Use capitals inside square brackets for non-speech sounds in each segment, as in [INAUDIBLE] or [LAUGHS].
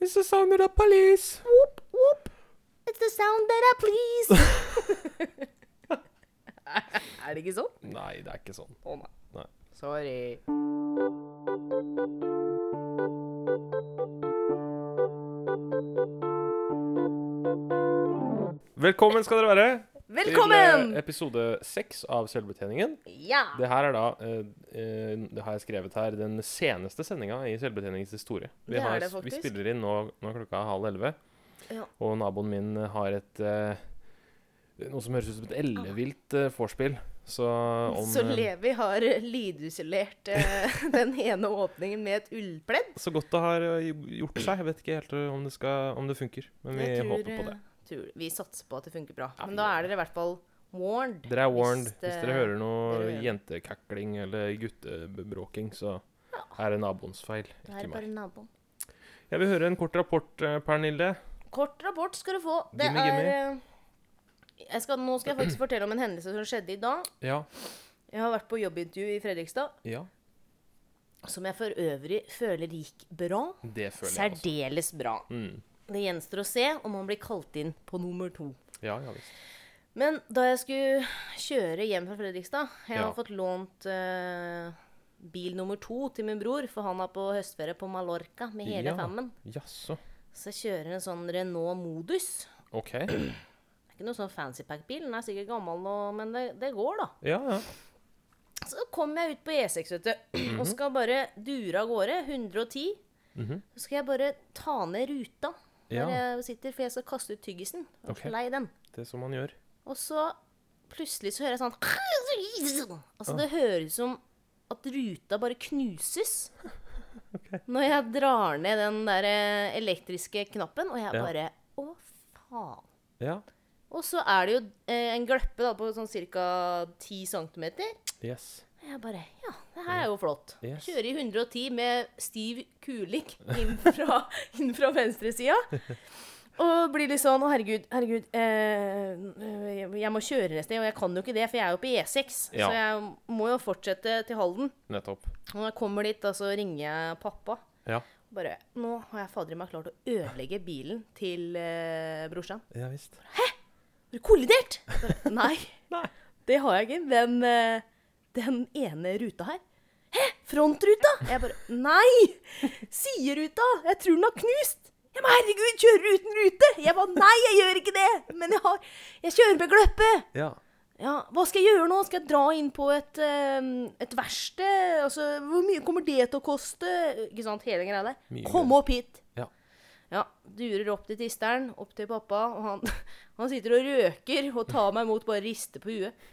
It's the sound of the police. Whoop, whoop. It's the sound that I please. [LAUGHS] er det ikke sånn? Nei, det er ikke sånn. Å nei. Nei. Sorry. Velkommen skal dere være til Velkommen! eh, episode seks av Selvbetjeningen. Ja. Det her er da eh, eh, Det har jeg skrevet her den seneste sendinga i Selvbetjeningens historie. Vi, Det er har, det faktisk. vi spiller inn nå, nå er klokka er halv elleve, Ja. og naboen min har et eh, noe som høres ut som et ellevilt eh, vorspiel. Så om Så eh, Levi har lydisolert eh, [LAUGHS] den ene åpningen med et ullpledd. Så godt det har eh, gjort seg. Jeg vet ikke helt eh, om det, skal, om det funker, men vi Jeg tror, håper på det. eh, Tror, vi satser på at det funker bra. Ja, Men da men- er dere i hvert fall warned. Dere er warned. Hvis Hvis, det- dere hører noe dere hører. jentekakling eller guttebråking, så er det naboens feil, Det er ikke bare meg. naboen. Jeg vil høre en kort rapport, eh, Pernille. Kort rapport skal du få. Det Gimme, er gimme. eh, jeg skal, Nå skal jeg faktisk fortelle om en hendelse som skjedde i dag. Ja. Jeg har vært på jobbintervju i Fredrikstad, ja. som jeg for øvrig føler gikk bra. Det føler jeg altså. også. Særdeles bra. Mm. Det gjenstår å se om han blir kalt inn på nummer to. Ja, ja visst. Men da jeg skulle kjøre hjem fra Fredrikstad Jeg Ja. har fått lånt eh, bil nummer to til min bror, for han er på høstferie på Mallorca med hele Ja. fammen. Jaså. Så jeg kjører en sånn Renault Modus. OK. Det er ikke noe sånn fancypack-bil, den er sikkert gammel, nå, men det, det går, da. Ja, ja. Så kom jeg ut på E6, vet du, [CLEARS THROAT] Mhm. og skal bare dure av gårde. 110. Så skal jeg bare ta ned ruta der Ja. jeg sitter, for jeg skal kaste ut tyggisen. Og Ok. lei den. Det er som man gjør. Og så plutselig så hører jeg sånn [LAUGHS] Altså det høres ut som at ruta bare knuses. [LAUGHS] Ok. Når jeg drar ned den der eh, elektriske knappen, og jeg Ja. bare Å, faen. Ja. Og så er det jo eh, en gløppe da, på sånn ca. 10 cm. Yes. Og jeg bare Ja, det her er jo flott. Yes. Kjører i 110 med stiv kulik inn fra, [LAUGHS] inn fra venstresida. Og blir litt sånn Å, herregud, herregud. Eh, jeg- jeg må kjøre neste sted, og jeg kan jo ikke det, for jeg er jo på E6. Ja. Så jeg må jo fortsette til Halden. Nettopp. Og når jeg kommer dit, da, så ringer jeg pappa. Ja. Bare Nå har jeg fader i meg klart å ødelegge bilen til eh, brorsan. Ja visst. Har du kollidert? Jeg Bare, Nei, Nei. det har jeg ikke. Den, eh, den ene ruta her. Hæ? Frontruta? Jeg bare Nei! Sideruta! Jeg tror den har knust! Jeg bare, Herregud, kjører du uten rute? Jeg bare Nei, jeg gjør ikke det! Men jeg har Jeg kjører med gløppe! Ja. Ja, hva skal jeg gjøre nå? Skal jeg dra inn på et, eh, et verksted? Altså, hvor mye kommer det til å koste? Ikke sant, hele greia der. Mye Kom greier. opp hit! Ja. Ja, durer opp til tisteren, opp til pappa, og han, [LAUGHS] han sitter og røker og tar meg imot, bare rister på huet.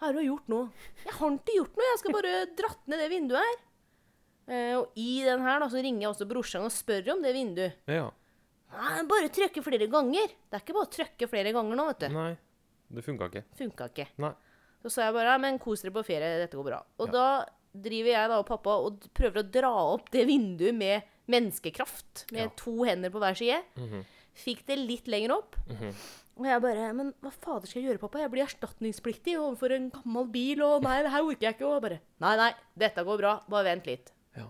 Hva er det du har gjort nå? Jeg har ikke gjort noe, jeg skal bare dratt ned det vinduet her. Eh, og i den her da, så ringer jeg også brorsan og spør om det vinduet. ja. Nei, bare trykke flere ganger. Det er ikke bare å trykke flere ganger nå, vet du. Nei. Det funka ikke. Funka ikke. Nei. Så sa jeg bare «Nei, men kos dere på ferie, dette går bra. Og da driver jeg da og pappa og d- prøver å dra opp det vinduet med menneskekraft. Med Ja. to hender på hver side. Fikk det litt lenger opp. Mhm. Og jeg bare Men hva fader skal jeg gjøre, pappa? Jeg blir erstatningspliktig overfor en gammel bil, og nei, det her orker jeg ikke. Og jeg bare Nei, nei, dette går bra. Bare vent litt. Ja.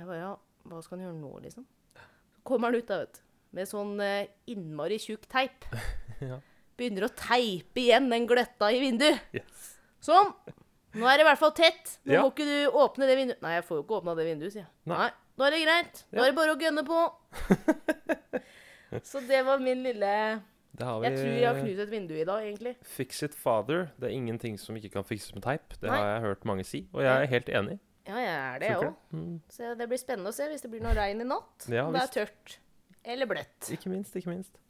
Jeg bare Ja, hva skal han gjøre nå, liksom? Så kommer han ut, da, vet du. Med sånn eh, innmari tjukk teip. [LAUGHS] Ja. Begynner å teipe igjen den gløtta i vinduet. Yes. Sånn. Nå er det i hvert fall tett. Nå Ja. må ikke du åpne det vinduet. Nei, jeg får jo ikke åpna det vinduet, sier jeg. Nei. Nei. Da er det greit. Da er det bare å gønne [LAUGHS] på. Så det var min lille Det har vi. Jeg tror jeg har knust et vindu i dag, egentlig. Fix it father. Det er ingenting som ikke kan fikses med teip. Det Nei. har jeg hørt mange si, og jeg er helt enig. Ja, jeg er det, jeg Funker Mm, òg. Så det blir spennende å se hvis det blir noe regn i natt. Ja, om det er tørt. Eller bløtt. Ikke minst, ikke minst.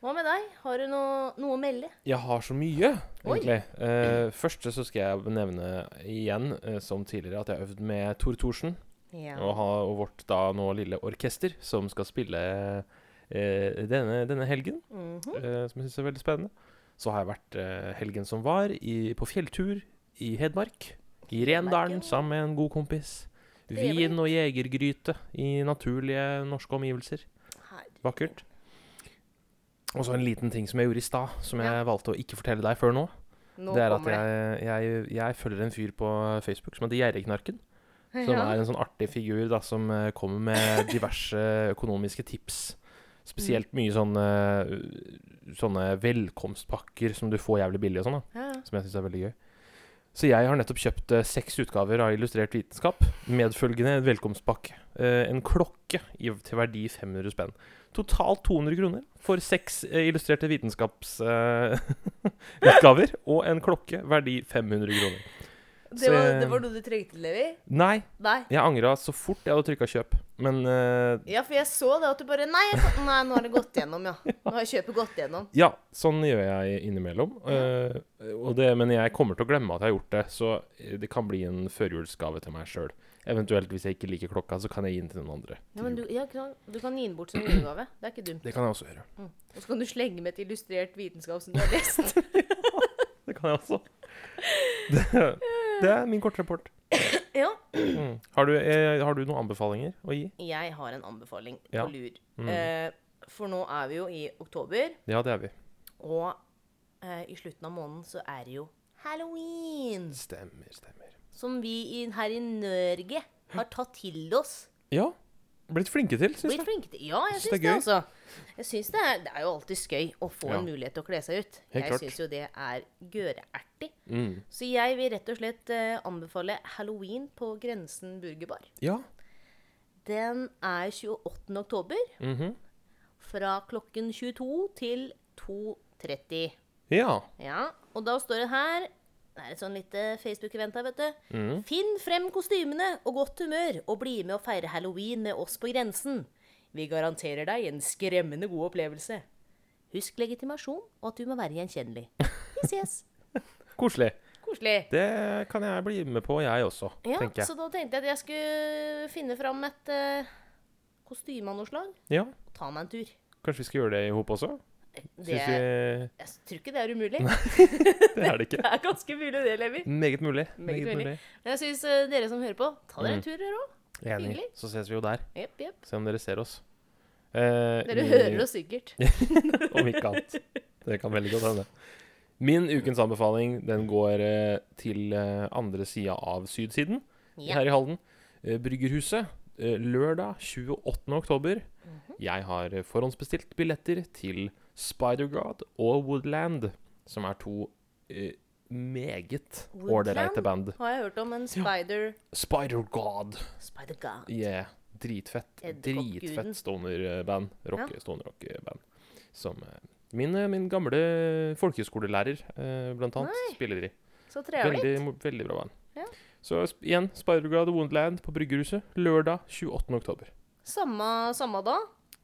Hva med deg? Har du noe, noe å melde? Jeg har så mye, Oi. egentlig. Eh, først så skal jeg nevne igjen, eh, som tidligere, at jeg har øvd med Tor Thorsen. Ja. Og, ha, og vårt da nå lille orkester, som skal spille eh, denne, denne helgen. Mhm. Mm. eh, som jeg syns er veldig spennende. Så har jeg vært eh, helgen som var, i, på fjelltur i Hedmark. I Rendalen Hedmarken. sammen med en god kompis. Trevlig. Vin og jegergryte i naturlige norske omgivelser. Herregud. Vakkert. Og så en liten ting som jeg gjorde i stad, som jeg Ja. valgte å ikke fortelle deg før nå. Nå det er at kommer det. jeg, jeg, jeg følger en fyr på Facebook som heter Gjerrigknarken. Som [LAUGHS] Ja. er en sånn artig figur da, som eh, kommer med diverse økonomiske tips. Spesielt Mm. mye sånne, eh, sånne velkomstpakker som du får jævlig billig og sånn, da, Ja. som jeg syns er veldig gøy. Så jeg har nettopp kjøpt eh, seks utgaver av Illustrert vitenskap, medfølgende velkomstpakke. Eh, en klokke i, til verdi 500 spenn. Totalt 200 kroner for seks eh, illustrerte vitenskapsutgaver [LAUGHS] utgaver og en klokke verdi 500 kroner. Det, Så var, jeg- det var noe du trengte, Levi? Nei, Nei. jeg angra så fort jeg hadde trykka kjøp, men eh, Ja, for jeg så det at du bare Nei, jeg, nei nå har det gått gjennom, ja. Nå har kjøpet gått gjennom. Ja, sånn gjør jeg innimellom. eh, og det, men jeg kommer til å glemme at jeg har gjort det, så eh, det kan bli en førjulsgave til meg sjøl. Eventuelt, hvis jeg ikke liker klokka, så kan jeg gi den til noen andre. Ja, men du, ja, ikke sant? du kan gi den bort som julegave. Det er ikke dumt. Det kan jeg også gjøre. Og så kan du slenge med et illustrert vitenskap som du har lest. [LAUGHS] Det kan jeg også. [LAUGHS] Det, det er min kortrapport. ja. Mm. Har, du, eh, har du noen anbefalinger å gi? Jeg har en anbefaling Ja. på lur. Mm. Eh, for nå er vi jo i oktober, Ja, det er vi. og eh, i slutten av måneden så er det jo halloween. Stemmer, stemmer. Som vi i, her i Norge har tatt til oss. Ja. Blitt flinke til, syns Blitt jeg. flinke til. Ja, jeg Syns syns det det, er gøy. altså. Jeg syns det, er, det er jo alltid skøy å få Ja. en mulighet til å kle seg ut. Helt klart. jeg syns jo det er gøreertig. Mm. Så jeg vil rett og slett eh, anbefale halloween på Grensen burgerbar. Ja. Den er 28. oktober mhm. fra klokken 22 til 2.30. Ja. Ja, og da står det her Det er et sånn lite Facebook-event her, vet du. Mhm. Finn frem kostymene og godt humør, og bli med og feire halloween med oss på grensen. Vi garanterer deg en skremmende god opplevelse. Husk legitimasjon, og at du må være gjenkjennelig. Vi ses. [LAUGHS] Koselig. Koselig. Det kan jeg bli med på, jeg også, Ja, tenker jeg. så da tenkte jeg at jeg skulle finne fram et eh, kostyme av noe slag. Ja. og Ta meg en tur. Kanskje vi skal gjøre det i hop også? Det, Syns vi Jeg tror ikke det [LAUGHS] er umulig. Det er det ikke. Det er ganske mulig det, Levi. Meget mulig. Meget mulig. Men jeg syns eh, dere som hører på, ta Mm. dere en tur dere òg. Jeg er Enig. Hyggelig. Så ses vi jo der. Jepp, jepp. Se om dere ser oss. Eh, Dere i- hører oss sikkert. Om ikke annet. Det kan veldig godt hende. Min ukens anbefaling den går eh, til eh, andre sida av sydsiden Ja. her i Halden. Eh, Bryggerhuset. eh, Lørdag 28. oktober. Mhm. Jeg har eh, forhåndsbestilt billetter til Spider-God og Woodland, som er to eh, meget ålreite Woodland? band. Har jeg hørt om en spider Spider-God. Spider-God. Yeah. Dritfett. Edderkoppguden. Dritfett stonerband. Rock, Stoner-rockband. Som eh, min, eh, min gamle folkeskolelærer, eh, blant annet, spiller i. Så trevlig. Veldig, mo- veldig bra band. Ja. Så sp- igjen, Spider-God og Woundland på Bryggerhuset lørdag 28. oktober. Samme, samme da.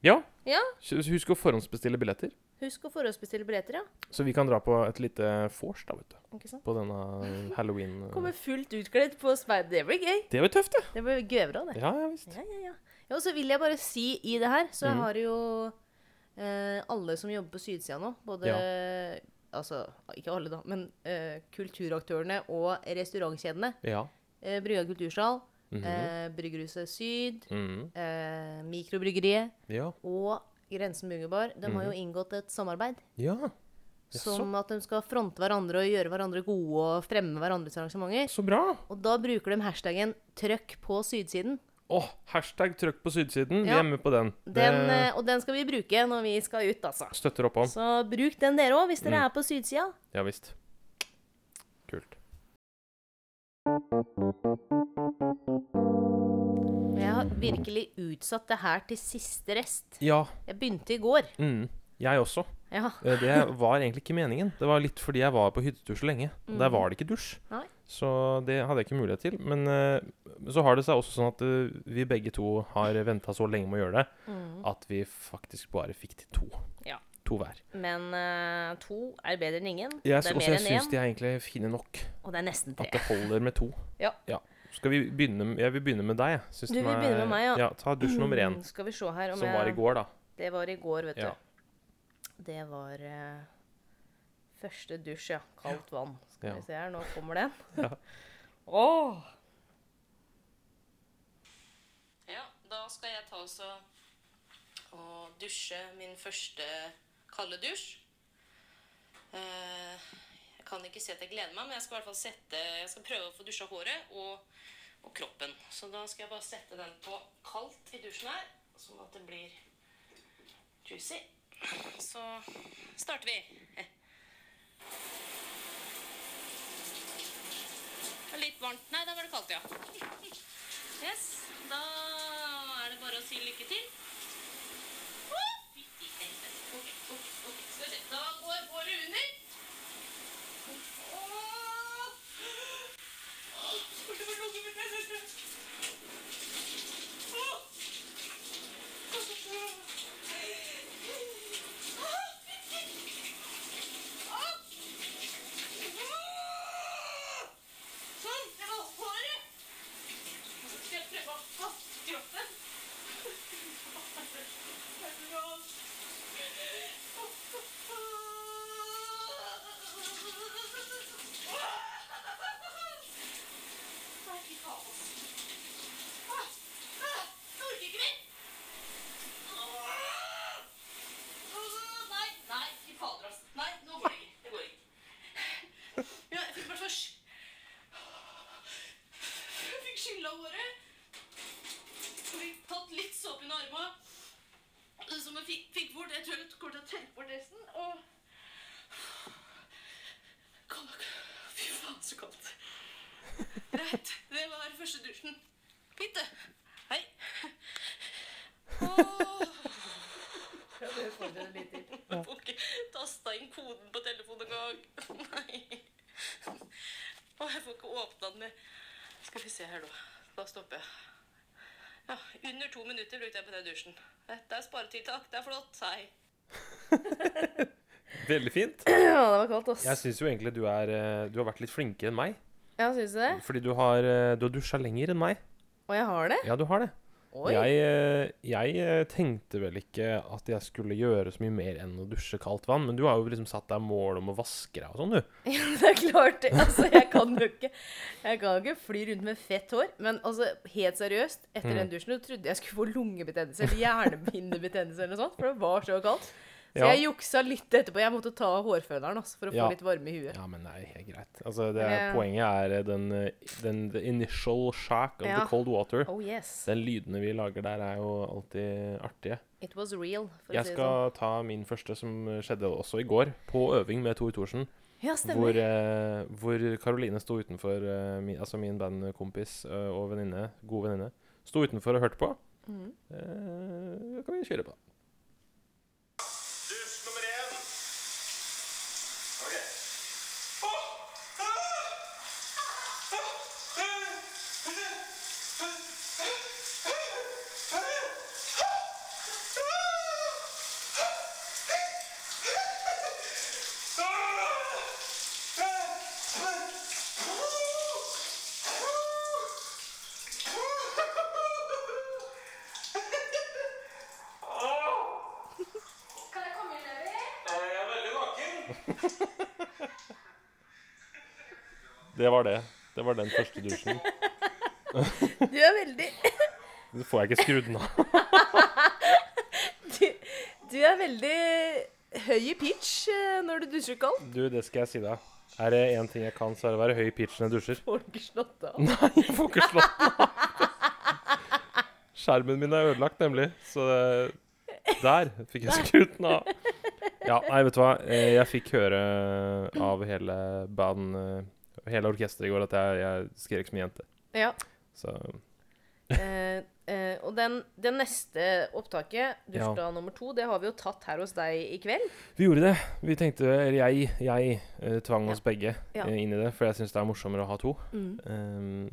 Ja, Ja. så husk å forhåndsbestille billetter, Husk å forhåndsbestille billetter, ja. så vi kan dra på et lite vors da, vet du, Ikke sant? på denne eh, halloween... Kommer fullt utkledd på spider. Det blir gøy. Det blir tøft, det. Det blir gøybra, det. Ja, ja, visst. Ja, ja, ja. ja, og så vil jeg bare si i det her, så Mhm. har jo eh, alle som jobber på sydsida nå, både Altså, ikke alle, da, men eh, kulturaktørene og restaurantkjedene. Ja. Eh, Brygga kultursal, Mhm. eh, Bryggerhuset Syd, Mhm. eh, Mikrobryggeriet Ja. og Grensen Burgerbar. De har jo inngått et samarbeid. Ja. Mhm. Jaså. Som at de skal fronte hverandre og gjøre hverandre gode og fremme hverandres arrangementer. Så bra. Og da bruker de hashtaggen 'trøkk på sydsiden'. Åh, hashtag trøkk på sydsiden. Vi Ja. er med på den. Den, det eh, og den skal vi bruke når vi skal ut, altså. støtter opp om. Så bruk den dere òg, hvis Mm. dere er på sydsida. Ja visst. Kult. Og Jeg har virkelig utsatt det her til siste rest. Ja. Jeg begynte i går. Mm. Jeg også. Ja. Eh, Det var egentlig ikke meningen. Det var litt fordi jeg var på hyttetur så lenge. Der var det ikke dusj. Mm. Nei. Så det hadde jeg ikke mulighet til. Men eh, så har det seg også sånn at eh, vi begge to har venta så lenge med å gjøre det, at vi faktisk bare fikk til to. Mm. Ja. To hver. Men eh, to er bedre enn ingen. Jeg, det er også, mer jeg enn syns én, de er egentlig fine nok. og det er nesten At tre. det holder med to. Ja. Skal vi begynne med, Jeg vil begynne med deg. jeg. Syns Du den vil er- begynne med meg, ja. ja. Ta dusj nummer [CLEARS THROAT] én, Mm, Skal vi se her om som var i jeg går, da. Det var i går, vet Ja. du. Det var eh, første dusj, ja. Kaldt vann. Skal Ja. vi se her, nå kommer den. Ja. Åh! Ja, da skal jeg ta også og dusje min første kalde dusj. Eh, jeg kan ikke si at jeg gleder meg, men jeg skal i hvert fall sette Jeg skal prøve å få dusja håret og, og kroppen. Så da skal jeg bare sette den på kaldt i dusjen her, sånn at det blir juicy. Så starter vi. Det var litt varmt. Nei, da var det kaldt, ja. Yes. Da er det bare å si lykke til. Å, fytti helvete. Ok, ok, ok. Skal vi se. Da går håret under. Åh! Burde vært lukket med tennene. Åh! Åh, fytti. Åh! Åh! Sånn, det var håret. Og så skal jeg prøve å kaste kroppen. Det er bra. Nei, fy faen, ass. Ah, ah, Orker ikke mer. Ah, ah, Nei, nei, fy fader, ass. Nei, nå går det ikke. Det går ikke. Ja, jeg fikk meg først. Jeg fikk skylla håret. Og fikk tatt litt såpe under armene. Som jeg fikk, fikk bort. Jeg tror jeg kommer til å tørke bort resten. Og Kom, Fy faen, så kaldt. Greit. Det var første dusjen. Fint, det. Hei. Åh, Det fortsetter litt til. jeg får ikke tasta inn koden på telefonen engang. Nei. Åh, jeg får ikke åpna den mer. Skal vi se her, da. Da stopper jeg. Ja, Under to minutter brukte jeg på den dusjen. Dette er sparetiltak. Det er flott. Hei. Veldig fint. Ja, det var kaldt, Jeg ass. syns jo egentlig du er eh, Du har vært litt flinkere enn meg. Ja, syns du det? Fordi du har, eh, du har dusja lenger enn meg. Og jeg har det? Ja, du har det. Oi. Jeg, eh, jeg eh, tenkte vel ikke at jeg skulle gjøre så mye mer enn å dusje kaldt vann, men du har jo liksom satt deg mål om å vaske deg og sånn, du. [LAUGHS] Det er klart det. Altså, jeg kan jo ikke Jeg kan jo ikke fly rundt med fett hår. Men altså, helt seriøst, etter Mm. den dusjen så trodde jeg skulle få lungebetennelse eller hjernehinnebetennelse eller noe sånt, for det var så kaldt. Så Ja. jeg juksa litt etterpå. Jeg måtte ta av hårføneren altså, for å få Ja. litt varme i huet. Ja, men det er helt greit. Altså, det er, Men jeg- poenget er eh, den, eh, den the initial shock of Ja. the cold water. Oh yes. Den lydene vi lager der, er jo alltid artige. It was real, for å Jeg si det skal sånn. ta min første, som skjedde også i går, på øving med Tor Thorsen. Ja, Hvor, stemmer. eh, hvor Karoline sto utenfor eh, min, altså min bandkompis eh, og venninne, god venninne, sto utenfor og hørte på. Mm. Eh, da kan vi kjøre på. Dusj nummer én. Ok. Kan jeg komme inn, Levi? Jeg er veldig naken. [LAUGHS] Det var det. Det var den første [LAUGHS] dusjen. Du er veldig Så får jeg ikke skrudd den av. du, du er veldig høy i pitch eh, når du dusjer kaldt. Du, det skal jeg si deg. Er det én ting jeg kan, så er det å være høy i pitch når jeg dusjer. Får du ikke slått av. Nei, jeg får ikke slått den av. Skjermen min er ødelagt, nemlig. Så det- der fikk jeg skrudd den av. Ja, nei, vet du hva. Eh, Jeg fikk høre av hele band, eh, hele orkesteret i går, at jeg, jeg skrek som en jente. Ja. Så Eh, eh, og den, det neste opptaket, dusjdag nummer to, det har vi jo tatt her hos deg i kveld. Vi gjorde det. Vi tenkte, eller jeg, jeg eh, tvang oss begge Ja. Mm. eh, inn i det, for jeg syns det er morsommere å ha to. Um,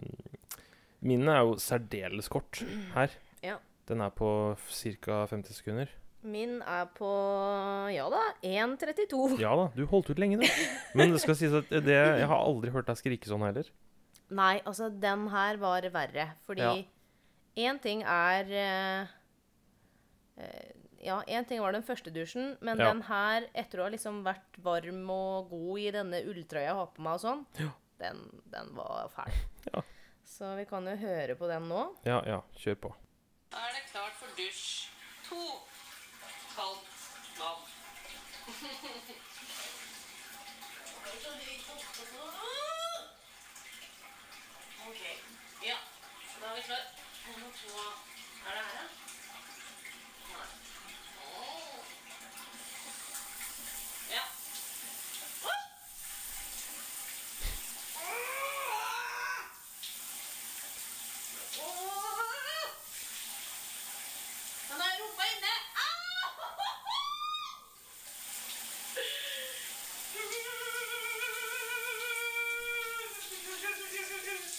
min er jo særdeles kort her. Mm. Ja. Den er på ca. 50 sekunder. Min er på ja da, 1.32. Ja da, du holdt ut lenge, du. Men det skal sies at det, jeg har aldri hørt deg skrike sånn heller. Nei, altså, den her var verre. Fordi Ja. én ting er eh, eh, Ja, én ting var den første dusjen, men Ja. den her, etter å ha liksom vært varm og god i denne ulltrøya jeg har på meg og sånn, den, den var fæl. Ja. Så vi kan jo høre på den nå. Ja, ja, kjør på. Da er det klart for dusj to. Kaldt vann. Ok, ja. Da er vi klar. Nummer to. Er det her, da? Nei. Åh. Ja. Åh! Ah! Åh! Åh! Men da er rumpa inne. Ah! Ah!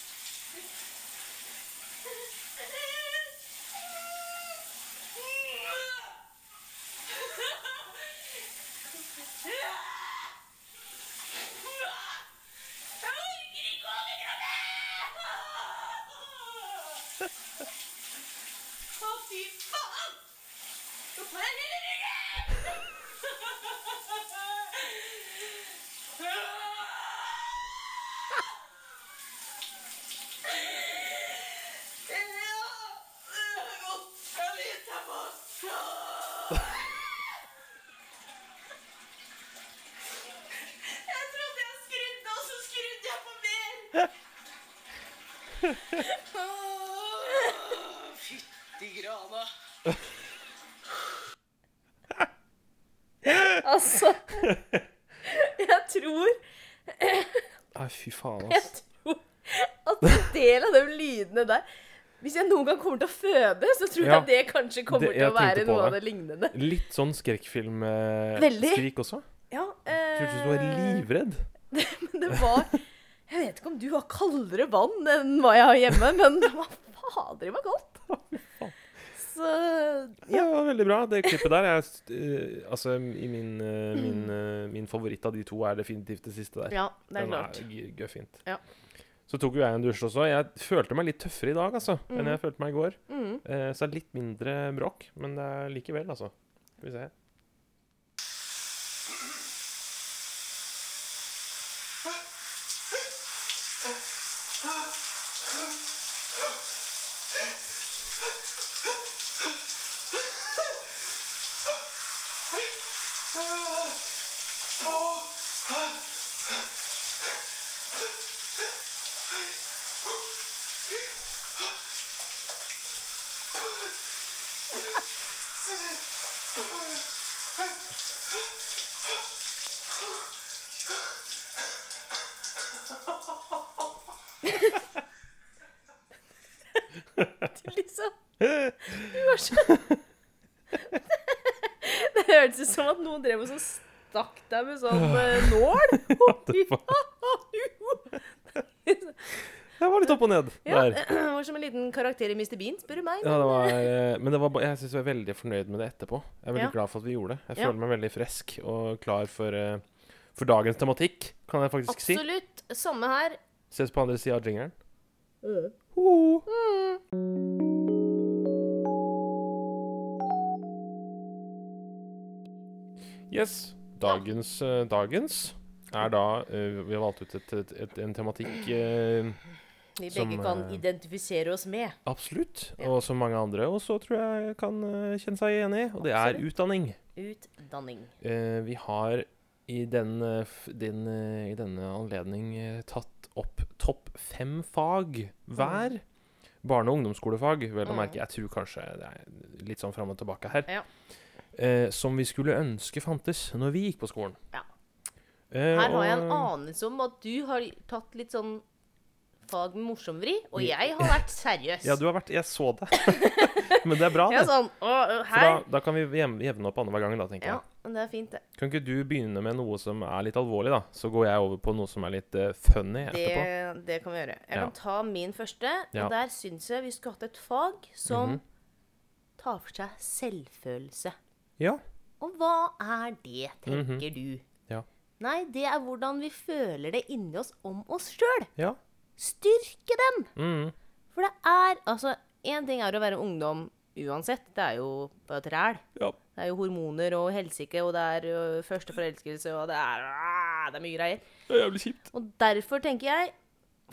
Jeg trodde jeg skrudde, og så skrudde jeg på mer. Åh, Fytti grana. Altså Jeg tror Nei, fy [LAUGHS] faen, Jeg ass. tror at en del av de lydene der Hvis jeg noen gang kommer til å føde, så tror jeg Ja. det kanskje kommer Det- til å jeg tenkte være på noe av det. det lignende. Litt sånn skrekkfilm-skrik Veldig. eh, skrik også. Ja, Det Hørtes ut som du var eh, livredd. Men det var Jeg vet ikke om du har kaldere vann enn hva jeg har hjemme, men det var fader i meg kaldt. Så Ja, det var veldig bra. Det klippet der er eh, Altså, i min, eh, min, eh, min favoritt av de to er definitivt det siste der. Mm. Ja, det er Den klart. g- gøffint. Ja. Så tok jo jeg en dusj også. Jeg følte meg litt tøffere i dag altså, enn Mhm. jeg følte meg i går. Mm. Eh, så det er litt mindre bråk, men det er likevel, altså. Skal vi se. [LAUGHS] Liksom. Du var så [LAUGHS] Det hørtes ut som at noen drev og så stakk deg med [SIGHS] sånn eh, nål. [LAUGHS] det var- Jeg var litt opp og ned Ja, der. det var som en liten karakter i Mr. Bean, spør du meg. Ja, det var, eh, men det var, ba- jeg syns jeg er veldig fornøyd med det etterpå. Jeg er veldig Ja. glad for at vi gjorde det. Jeg Ja. føler meg veldig frisk og klar for, eh, for dagens tematikk, kan jeg faktisk Absolutt. Samme her. si. Ses på andre sida av jingeren. Øh. Yes. Dagens, eh, dagens er da eh, Vi har valgt ut et, et, et, en tematikk eh, Vi Som, begge kan eh, identifisere oss med. absolutt, og som mange andre også tror jeg kan eh, kjenne seg igjen i, og det er Absolutt. utdanning. Utdanning. Eh, vi har i, den, eh, f- din, eh, i denne anledning eh, tatt opp topp fem fag hver. Barne- og ungdomsskolefag, vel å Mm. merke. Jeg tror kanskje det er litt sånn fram og tilbake her. Ja. Eh, som vi skulle ønske fantes når vi gikk på skolen. Ja. Eh, Her har jeg og- en anelse om at du har tatt litt sånn fag med morsom vri, og jeg har vært seriøs. Ja, du har vært Jeg så det. Men det [LAUGHS] er bra, Jeg er det. sånn, å, å, For her. da, da kan vi jevne, jevne opp annenhver gang, da, tenker Ja, jeg. men det er fint, det. Kan ikke du begynne med noe som er litt alvorlig, da? Så går jeg over på noe som er litt eh, funny etterpå. Det, det kan vi gjøre. Jeg Ja. kan ta min første. Ja. Mhm. Og der syns jeg vi skulle hatt et fag som tar for seg selvfølelse. Ja. Og hva er det, tenker Mhm. du? Ja. Nei, det er hvordan vi føler det inni oss om oss sjøl. Ja. Styrke den! Mm. For det er altså Én ting er å være ungdom uansett. Det er jo bare et ræl. Ja. Det er jo hormoner og helsike, og det er ø, første forelskelse, og det er, ah, det er mye greier. Det er jævlig kjipt. Og derfor tenker jeg,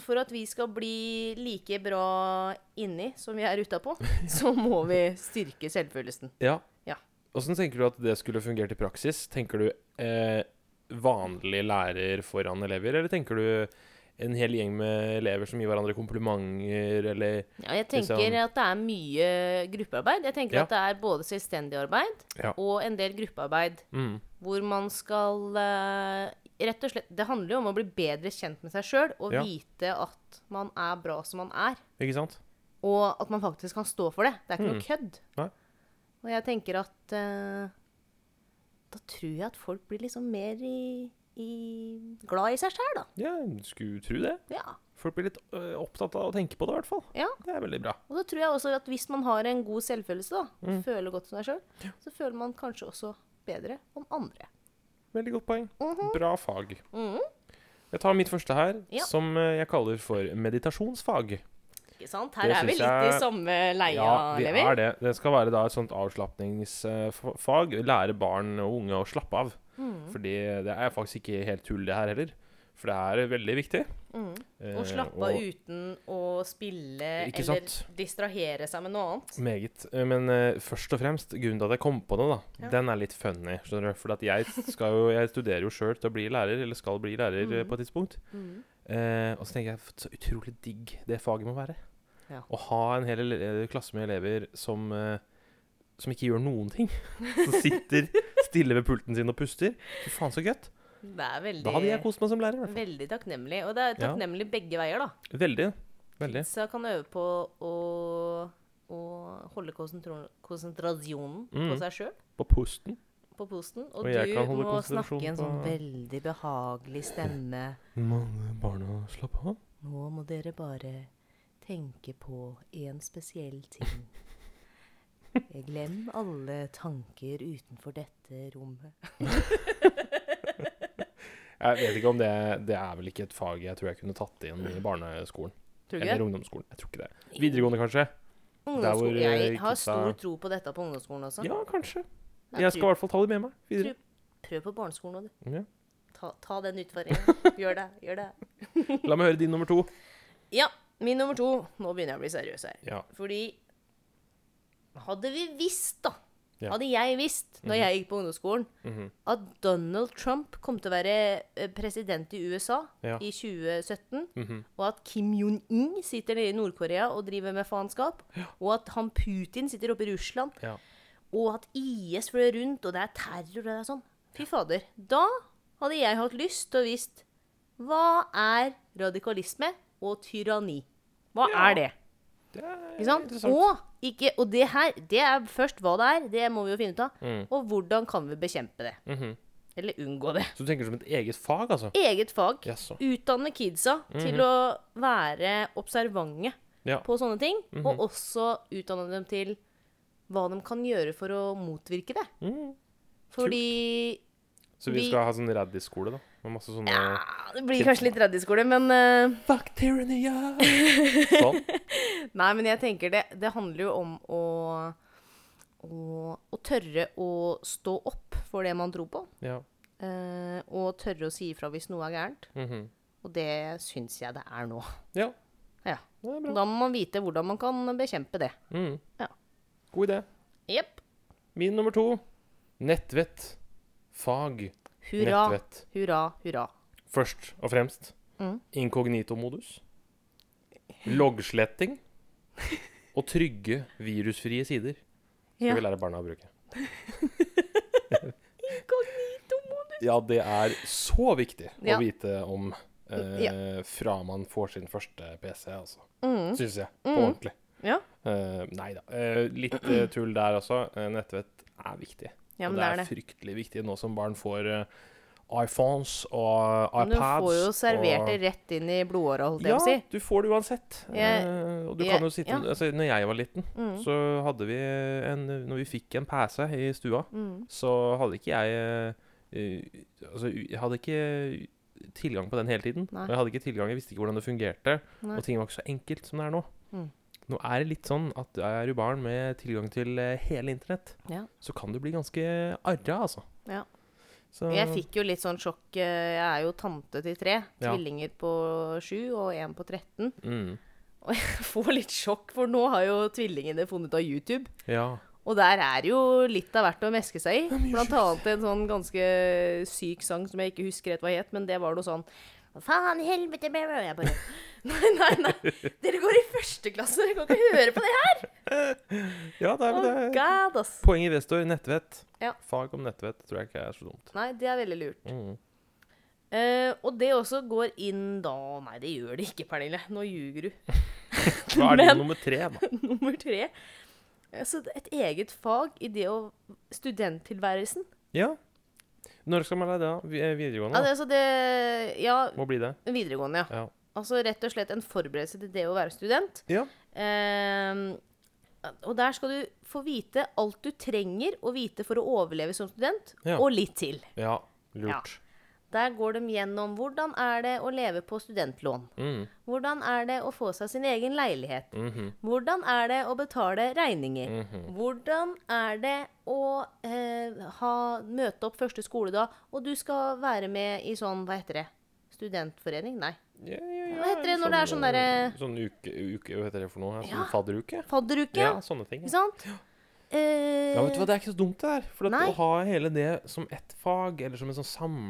for at vi skal bli like bra inni som vi er [LAUGHS] utapå, så må vi styrke selvfølelsen. Ja. Ja. Åssen tenker du at det skulle fungert i praksis? Tenker du eh, vanlig lærer foran elever, eller tenker du en hel gjeng med elever som gir hverandre komplimenter, eller Ja, jeg tenker Liksom- at det er mye gruppearbeid. Jeg tenker Ja. at det er både selvstendig arbeid Ja. og en del gruppearbeid. mm, Hvor man skal eh, Rett og slett Det handler jo om å bli bedre kjent med seg sjøl og Ja. vite at man er bra som man er. Ikke sant? Og at man faktisk kan stå for det. Det er ikke noe kødd. Mm. Nei. Og jeg tenker at eh, Da tror jeg at folk blir liksom mer i, i glad i seg sjæl, da. Ja, du skulle tro det. Ja. Folk blir litt øh, opptatt av å tenke på det, i hvert fall. ja. Det er veldig bra. Og da tror jeg også at hvis man har en god selvfølelse, da, Mm. og føler godt som deg sjøl, så føler man kanskje også bedre om andre. Veldig godt poeng. Bra fag. Mhm. Jeg tar mitt første her, Ja. som eh, jeg kaller for meditasjonsfag. Ikke sant? Her Det er vi synes litt i jeg- samme leia, Ja, vi Levi. er det. Det skal være da et sånt avslapningsfag. Lære barn og unge å slappe av. Fordi det er faktisk ikke helt tull, det her heller. For det er veldig viktig. Mm. Eh, Å slappe av uten å spille Ikke eller sant? distrahere seg med noe annet. Meget. Eh, Men eh, først og fremst, grunnen til at jeg kom på det, da, Ja. den er litt funny. skjønner du? For at jeg, skal jo, jeg studerer jo sjøl til å bli lærer, eller skal bli lærer Mm. eh, på et tidspunkt. Eh, og så tenker jeg så utrolig digg det faget må være. Ja. Å ha en hel ele eh, klasse med elever som, eh, som ikke gjør noen ting. [LAUGHS] Som sitter stille ved pulten sin og puster. Fy faen, så gøy. Det er Da hadde veldig, jeg kost meg som lærer. i hvert veldig takknemlig. Og det er Ja. takknemlig begge veier, da. fall. Veldig. Veldig. Kidsa kan øve på å, å holde konsentro- konsentrasjonen på Mm. seg sjøl, På pusten. på posten. Og, Og jeg du kan holde må snakke i en konsentrasjonen sånn på- veldig behagelig stemme. Mange barna slapp av. Nå må dere bare tenke på en spesiell [LAUGHS] ting. Glem alle tanker utenfor dette rommet. Jeg vet ikke om det Det er vel ikke et fag jeg tror jeg kunne tatt inn i barneskolen. Tror du Eller ikke? ungdomsskolen. Jeg tror ikke det. Videregående, kanskje? der hvor, Ungdomssko- Jeg eh, har kidsa- stor tro på dette på ungdomsskolen også. Ja, kanskje. Jeg Jeg skal i Sånn. tror- hvert fall ta det med meg videre. Prøv på barneskolen nå, du. Ja. Ta, ta den [LAUGHS] utfordringen. Gjør det. Gjør det. La meg høre din nummer to. Ja, min nummer to. Nå begynner jeg å bli seriøs her. Ja. Fordi Hadde vi visst, da Ja. Mhm. Hadde jeg visst, når jeg gikk på ungdomsskolen, at Donald Trump kom til å være eh, president i USA Ja. Mhm. i 2017, og at Kim Jong-un sitter nede i Nord-Korea og driver med faenskap, og at han Putin sitter oppe i Russland, Ja. og at IS fløy rundt, og det er terror og det er sånn Fy fader. Da hadde jeg hatt lyst til å visst hva er radikalisme og tyranni? Hva Ja. er det? Det er Ikke sant? Og, ikke, og det her, det er først hva det er, det må vi jo finne ut av. Mm. Og hvordan kan vi bekjempe det? Mhm. Eller unngå det. Så du tenker som et eget fag, altså? Eget fag. Jaså. Mhm. Utdanne kidsa til å være observante Ja. Mhm. på sånne ting. Og også utdanne dem til hva de kan gjøre for å motvirke det. Mm. Fordi Så vi vi- skal ha sånn Raddis-skole, da? Med masse sånne ja, Det blir kanskje litt radioskole, men eh, Fuck tyranny, [LAUGHS] ja! Sånn. Nei, men jeg tenker det, det handler jo om å, å, å tørre å stå opp for det man tror på. Ja. Eh, og tørre å si ifra hvis noe er gærent. Mhm. Og det syns jeg det er nå. [LAUGHS] ja. Ja. Det er bra. Da må man vite hvordan man kan bekjempe det. Mm. Ja. God idé. Jepp. Min nummer to. Nettvett. Fag. Hurra, Nettvett. hurra, hurra. Først og fremst Mm. inkognito-modus, loggsletting og trygge virusfrie sider skal Ja. vi lære barna å bruke. Inkognito-modus. Ja, det er så viktig Ja. å vite om eh, fra man får sin første PC, altså. Syns jeg. På ordentlig. Mm. Ja. Eh, nei da. Eh, litt eh, tull der også. Eh, nettvett er viktig. Ja, og men det er, det er fryktelig viktig nå som barn får eh, iPhones og eh, Men iPads. du får jo servert og- det rett inn i blodåra, holdt jeg Ja, på å si. du får det uansett. Jeg- Eh, og du jeg- kan jo sitte ja. Mm. altså, Når jeg var liten, så hadde vi en Når vi fikk en pæse i stua, Mm. så hadde ikke jeg eh, eh, Altså, u- jeg hadde ikke tilgang på den hele tiden. Nei. Og jeg hadde ikke tilgang, jeg visste ikke hvordan det fungerte. Nei. Og ting var ikke så enkelt som det er nå. Mm. Nå er det litt sånn at er du barn med tilgang til eh, hele internett, Ja. så kan du bli ganske arra, altså. Ja. Så, Jeg fikk jo litt sånn sjokk. eh, Jeg er jo tante til tre. Mm. Ja. Tvillinger på sju og én på 13. mm, Og [LAUGHS] jeg får litt sjokk, for nå har jo tvillingene funnet ut av YouTube. Ja. Og der er jo litt av hvert å meske seg i. Blant annet en sånn ganske syk sang som jeg ikke husker helt hva het, men det var noe sånn Hva faen i helvete blæ, blæ, blæ. Jeg bare [LAUGHS] Nei, nei, nei. Dere går i første klasse, dere kan ikke høre på det her! [LAUGHS] Ja, det er Oh, vel det. God, ass. Poeng i Vestor, nettvett. Ja. Fag om nettvett tror jeg ikke er så dumt. Nei, det er veldig lurt. Mm. Eh, og det også går inn da Nei, det gjør det ikke, Pernille. Nå ljuger du. [LAUGHS] Da er det Men- nummer tre, da. Nummer tre. Altså et eget fag i det å Studenttilværelsen. Ja. Når skal man lære det? da? Vi- eh, Videregående? Ja, det, da. altså det Ja, Må bli det. videregående, ja. Ja. Altså rett og slett en forberedelse til det å være student. ja. Ehm, og der skal du få vite alt du trenger å vite for å overleve som student, Ja. og litt til. Ja, lurt. Der går de gjennom hvordan er det å leve på studentlån. Mm. Hvordan er det å få seg sin egen leilighet? Mhm. Hvordan er det å betale regninger? Mhm. Hvordan er det å eh, ha, møte opp første skoledag, og du skal være med i sånn, hva heter det? Studentforening? Nei. Ja, ja, ja. Hva heter det når det er sånn derre- Sånn uke, uke Hva heter det for noe? Sånn Ja. fadderuke? Fadderuke? Ja, sånne ting. Ikke Ja. sant? Eh, ja, vet du hva, Det er ikke så dumt, det der. For at Nei. å ha hele det som ett fag, eller som en sånn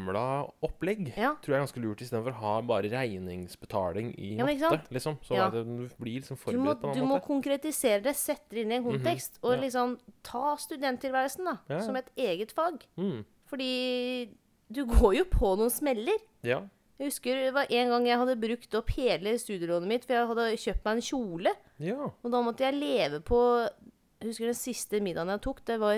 samla opplegg, Ja. tror jeg er ganske lurt, istedenfor å ha bare regningsbetaling i Ja, men ikke matte. sant? Liksom. Så Ja. at du blir liksom du må, forberedt på en du annen må måte. Mhm. konkretisere det, sette det inn i en kontekst, og ja. liksom ta studenttilværelsen da, Ja, ja. som et eget fag. Mm. Fordi du går jo på noen smeller. Ja. Jeg husker det var en gang jeg hadde brukt opp hele studielånet mitt, for jeg hadde kjøpt meg en kjole. ja. Og da måtte jeg leve på Jeg husker den siste middagen jeg tok, det var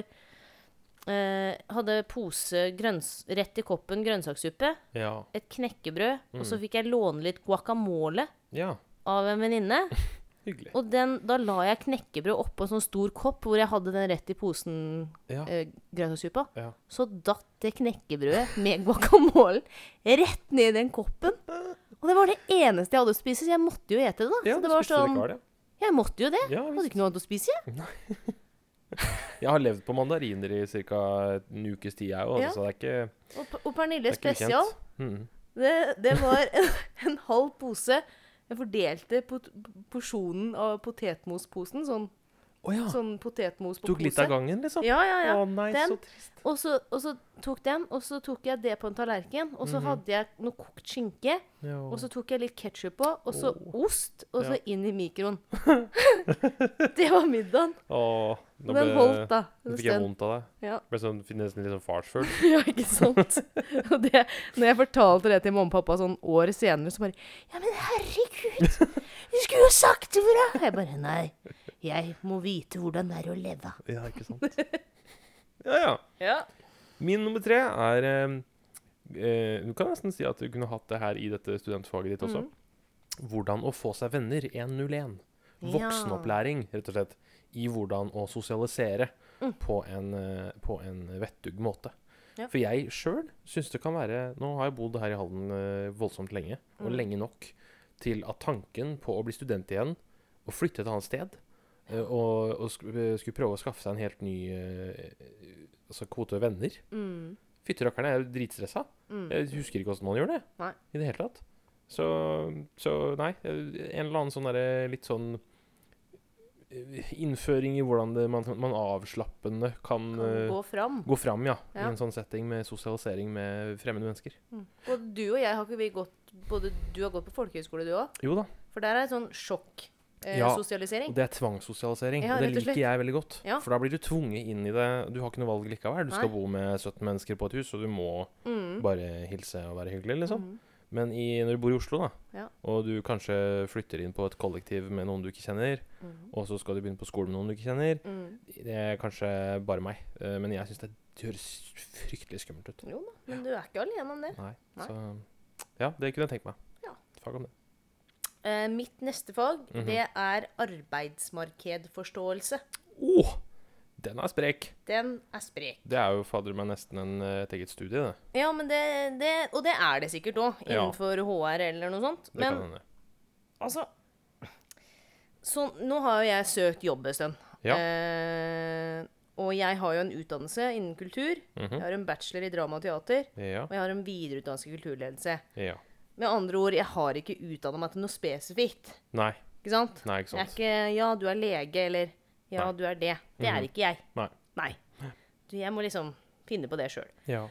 eh, Hadde pose grønns, rett i koppen grønnsakssuppe, Ja. et knekkebrød, og Mm. så fikk jeg låne litt guacamole Ja. av en venninne. Hyggelig. Og den, da la jeg knekkebrød oppå en sånn stor kopp hvor jeg hadde den rett i posen Ja. eh, grønnsakssuppa. Ja. Så datt det knekkebrødet med guacamolen rett ned i den koppen. Og det var det eneste jeg hadde å spise, så jeg måtte jo ete det. da. Ja, du så det var spiste det sånn, ikke var det. Jeg måtte jo det. Ja, Jeg visst. hadde ikke noe annet å spise. jeg. Jeg har levd på mandariner i ca. en ukes tid, jeg òg, Ja. så det er ikke, Og, P- og Pernille det er ikke spesial, ukjent. Mm. det, det var en, en halv pose. Jeg fordelte pot porsjonen av potetmosposen. Sånn, Å ja. sånn potetmos på Tok litt av pose. gangen, liksom? Ja, ja, ja. Å nei, Den. så trist. Og så, og så tok den, og så tok jeg det på en tallerken. Og så Mhm. hadde jeg noe kokt skinke, Ja. og så tok jeg litt ketsjup på, og så ost, og så Ja. inn i [LAUGHS] mikroen. det var middagen. Åh, nå Den ble- holdt, da. Nå en fikk jeg stund. vondt av det. Ja. [LAUGHS] Ble sånn, nesten litt sånn farsfølt. ja, ikke sant? Og det, når jeg fortalte det til mamma og pappa sånn år senere, så bare Ja, men herregud! Du skulle jo sagt ifra! Jeg bare Nei. Jeg må vite hvordan det er å leve. [LAUGHS] Ja, ikke sant? [LAUGHS] Ja, ja. Ja. Min nummer tre er eh, eh, Du kan nesten si at du kunne hatt det her i dette studentfaget ditt også. Hvordan å få seg venner 101. Voksenopplæring, rett og slett, i hvordan å sosialisere på, en, eh, på en vettug måte. Ja. For jeg sjøl syns det kan være Nå har jeg bodd her i Halden eh, voldsomt lenge, og lenge nok til at tanken på å bli student igjen og flytte et annet sted eh, og, og sk eh, skulle prøve å skaffe seg en helt ny eh, altså kvote venner Mm. Fytti rakkeren, jeg er jo dritstressa. Mm. Jeg husker ikke åssen man gjør det. Nei. I det hele tatt. Så, så nei. En eller annen sånn derre litt sånn eh, Innføring i hvordan det, man, man avslappende kan, eh, Gå fram. gå fram, ja, I Ja. en sånn setting med sosialisering med fremmede mennesker. Både du og jeg har ikke vi gått Både du har gått på folkehøyskole, du òg. Jo da. For der er sånn sjokksosialisering. Eh, Ja. sosialisering. Og det er tvangssosialisering. Ja, og det rett og liker slett. jeg veldig godt. Ja. For da blir du tvunget inn i det. Du har ikke noe valg likevel. Du skal Nei. bo med 17 mennesker på et hus, og du må Mm. bare hilse og være hyggelig, liksom. Mhm. Men i, når du bor i Oslo, da, Ja. og du kanskje flytter inn på et kollektiv med noen du ikke kjenner, og så skal du begynne på skolen med noen du ikke kjenner Mm. Det er kanskje bare meg, eh, men jeg syns det høres fryktelig skummelt ut. Jo da, men du er ikke alene om det. Nei. Nei. Så ja, det kunne jeg tenkt meg. Ja. Fag om det. Eh, mitt neste fag, Mhm. det er arbeidsmarkedforståelse. Å! den er sprek! Den er sprek. Det er jo fader meg nesten en, eh, et eget studie, det. Ja, men det, det Og det er det sikkert òg, Ja. innenfor HR eller noe sånt. Det Men kan hende. altså Så nå har jo jeg søkt jobb en stund. Ja. Eh, og jeg har jo en utdannelse innen kultur. Mhm. Jeg har en bachelor i drama og teater. Ja. Og jeg har en videreutdannelse i kulturledelse. ja. Med andre ord, jeg har ikke utdanna meg til noe spesifikt. Nei. Ikke sant? Nei, ikke Jeg er sant. ikke 'ja, du er lege', eller 'ja, Nei. Mhm. du er det'. Det er ikke jeg. Nei. Nei. Du, jeg må liksom finne på det sjøl. Ja.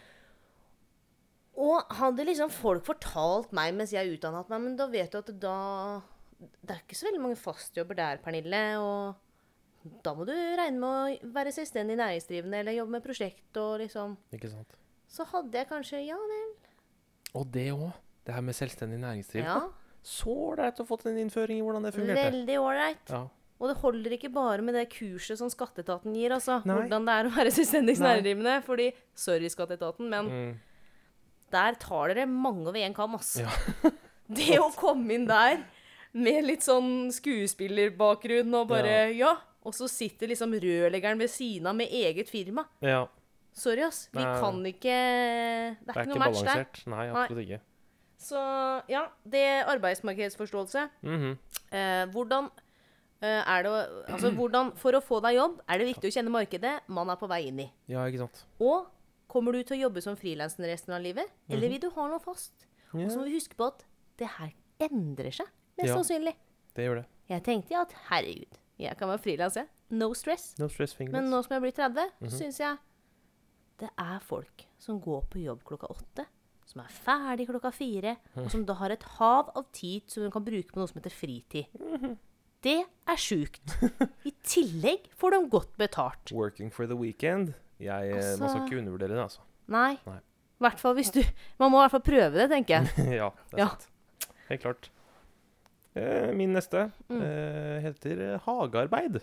Og hadde liksom folk fortalt meg mens jeg utdannet meg, men da vet du at da Det er ikke så veldig mange fastjobber der, Pernille. Og da må du regne med å være selvstendig næringsdrivende eller jobbe med prosjekt og liksom Ikke sant? Så hadde jeg kanskje Ja vel. Og det òg. Det her med selvstendig næringsdrivende. Ja, Så ålreit å få en innføring i hvordan det fungerte. veldig ålreit. Ja. Og det holder ikke bare med det kurset som skatteetaten gir, altså. Nei. Hvordan det er å være selvstendig Nei. næringsdrivende. Fordi sorry, skatteetaten, men Mm. der tar dere mange over én kam, ass. Ja. [LAUGHS] det å komme inn der med litt sånn skuespillerbakgrunn og bare Ja. Og så sitter liksom rørleggeren ved siden av med eget firma. ja. Sorry, ass. Vi Nei. kan ikke Det er, Det er ikke noe ikke match der. balansert. Nei, absolutt ikke. Så ja, det er arbeidsmarkedsforståelse. Mhm. Eh, hvordan eh, er det å Altså, hvordan For å få deg jobb er det viktig å kjenne markedet man er på vei inn i. Ja, ikke sant. Og kommer du til å jobbe som frilanser resten av livet, eller vil du ha noe fast? Og så må vi huske på at det her endrer seg, mest Ja. sannsynlig. Det gjør det. Jeg tenkte at herregud, jeg kan være frilans, jeg. No stress. No stress fingers. Men nå som jeg blir 30, så Mhm. syns jeg det er folk som går på jobb klokka åtte, som er ferdig klokka fire, Mhm. og som da har et hav av tid som hun kan bruke på noe som heter fritid. Mhm. Det er sjukt. [LAUGHS] I tillegg får de godt betalt. Working for the weekend. Jeg, eh, man skal Altså- ikke undervurdere det, altså. [LAUGHS] Nei. Nei. I hvert fall hvis du Man må i hvert fall prøve det, tenker jeg. ja, det er Ja. sant. Helt klart. Eh, min neste Mm. eh, heter eh, hagearbeid.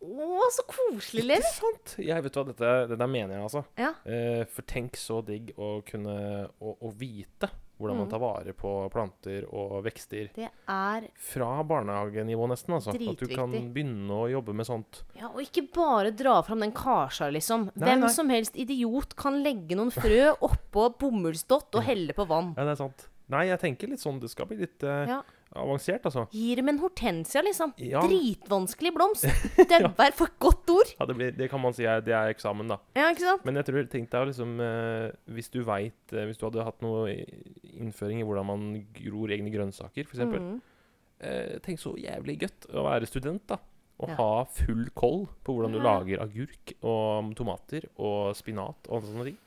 Mhm. Å, så koselig, Levi. Ikke sant? Jeg vet hva, dette, dette mener jeg, altså. Ja. Eh, for tenk så digg å kunne å, å vite hvordan Mm. man tar vare på planter og vekster. Det er Fra barnehagenivå, nesten. altså. At du kan Dritviktig. begynne å jobbe med sånt. Ja, og ikke bare dra fram den karsa, liksom. Nei, Hvem nei. som helst idiot kan legge noen frø oppå bomullsdott og helle på vann. Ja, det er sant. Nei, jeg tenker litt sånn Det skal bli litt eh, Ja. avansert, altså. Gi dem en hortensia, liksom. Ja. Dritvanskelig [LAUGHS] blomst. Dødvær for et godt ord. Ja, det, blir, det kan man si er, det er eksamen, da. Ja, ikke sant? Men jeg tror, tenk deg å liksom eh, Hvis du veit eh, Hvis du hadde hatt noe i- innføring i hvordan man gror egne grønnsaker, f.eks. eksempel Mm. Eh, tenk så jævlig godt å være student, da. Og Ja. ha full koll på hvordan du Ja. lager agurk og tomater og spinat og sånne ting.